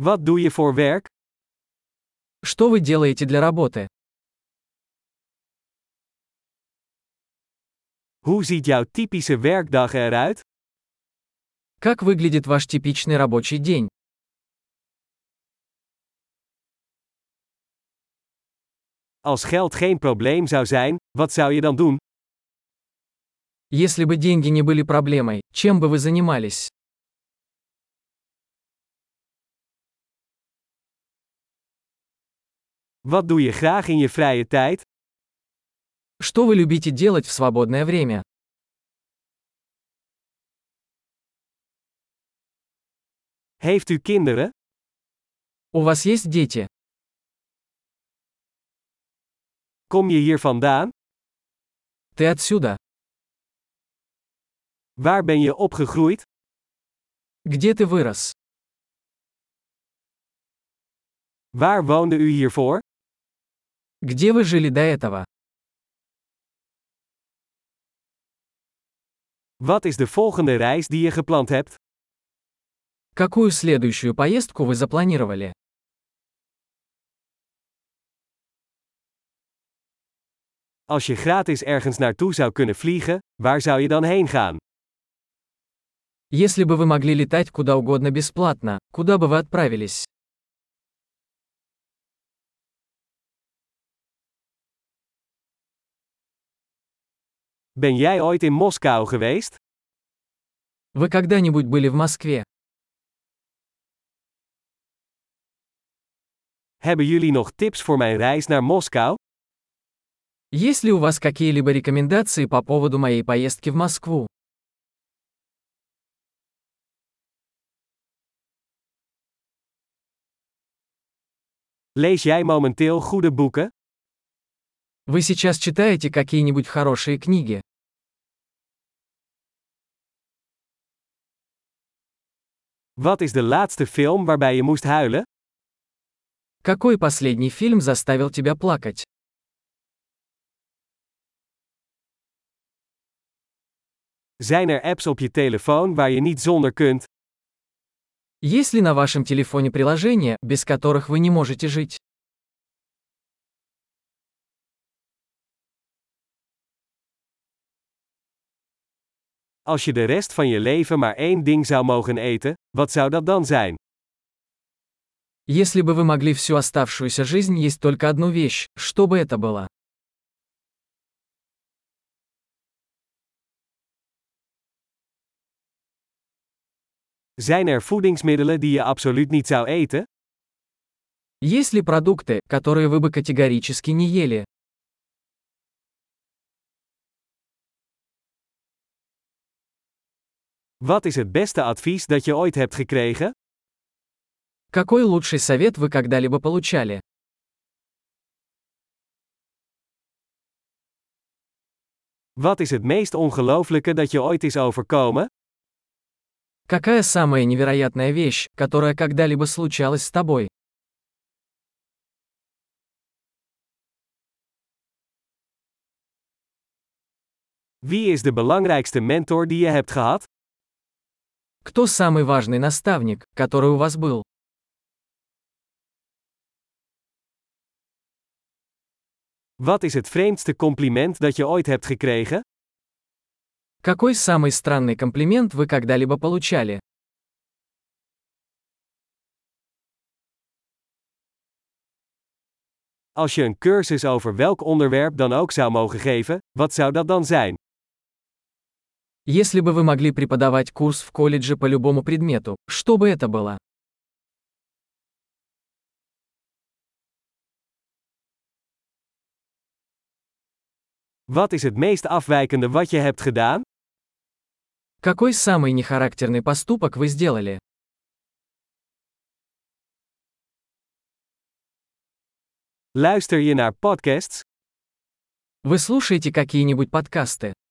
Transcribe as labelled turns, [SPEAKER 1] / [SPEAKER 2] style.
[SPEAKER 1] Wat doe je voor werk?
[SPEAKER 2] Что вы делаете для работы?
[SPEAKER 1] Hoe ziet jouw typische werkdag eruit?
[SPEAKER 2] Как выглядит ваш типичный рабочий день?
[SPEAKER 1] Als geld geen probleem zou zijn, wat zou je dan doen?
[SPEAKER 2] Если бы деньги не были проблемой, чем бы вы занимались?
[SPEAKER 1] Wat doe je graag in je vrije tijd?
[SPEAKER 2] Что вы любите делать в свободное время?
[SPEAKER 1] Heeft u kinderen?
[SPEAKER 2] У вас есть дети?
[SPEAKER 1] Kom je hier vandaan?
[SPEAKER 2] Ты отсюда?
[SPEAKER 1] Waar ben je opgegroeid?
[SPEAKER 2] Где ты вырос?
[SPEAKER 1] Waar woonde u hiervoor?
[SPEAKER 2] Где вы жили до этого?
[SPEAKER 1] Wat is de volgende reis die je gepland hebt?
[SPEAKER 2] Какую следующую поездку вы запланировали?
[SPEAKER 1] Als je gratis ergens naartoe zou kunnen vliegen, waar zou je dan heen gaan?
[SPEAKER 2] Если бы вы могли летать куда угодно бесплатно, куда бы вы отправились?
[SPEAKER 1] Ben jij ooit in Moskou geweest?
[SPEAKER 2] Вы когда-нибудь были в Москве?
[SPEAKER 1] Hebben jullie nog tips voor mijn reis naar Moskou?
[SPEAKER 2] Есть ли у вас какие-либо рекомендации по поводу моей поездки в Москву?
[SPEAKER 1] Lees jij momenteel goede boeken?
[SPEAKER 2] Вы сейчас читаете какие-нибудь хорошие книги?
[SPEAKER 1] Wat is de laatste film waarbij je moest huilen?
[SPEAKER 2] Какой последний фильм заставил тебя плакать?
[SPEAKER 1] Zijn er apps op je telefoon waar je niet zonder kunt?
[SPEAKER 2] Есть ли на вашем телефоне приложения, без которых вы не можете жить?
[SPEAKER 1] Als je de rest van je leven maar één ding zou mogen eten, wat zou dat dan zijn?
[SPEAKER 2] Если бы вы могли всю оставшуюся жизнь есть только одну вещь, что бы это было?
[SPEAKER 1] Zijn er voedingsmiddelen die je absoluut niet zou eten?
[SPEAKER 2] Есть ли продукты, которые вы бы категорически не ели?
[SPEAKER 1] Wat is het beste advies dat je ooit hebt gekregen?
[SPEAKER 2] Какой лучший совет вы когда-либо получали?
[SPEAKER 1] Wat is het meest ongelooflijke dat je ooit is overkomen?
[SPEAKER 2] Какая самая невероятная вещь, которая когда-либо случалась с тобой?
[SPEAKER 1] Wie is de belangrijkste mentor die je hebt gehad?
[SPEAKER 2] Кто самый важный наставник, который у вас был?
[SPEAKER 1] Wat is het vreemdste compliment dat je ooit hebt gekregen?
[SPEAKER 2] Какой самый странный комплимент вы когда-либо получали?
[SPEAKER 1] Als je een cursus over welk onderwerp dan ook zou mogen geven, wat zou dat dan zijn?
[SPEAKER 2] Если бы вы могли преподавать курс в колледже по любому предмету, что бы это было?
[SPEAKER 1] Wat is het meest afwijkende wat je hebt gedaan?
[SPEAKER 2] Какой самый нехарактерный поступок вы сделали?
[SPEAKER 1] Luister je naar podcasts?
[SPEAKER 2] Вы слушаете какие-нибудь подкасты?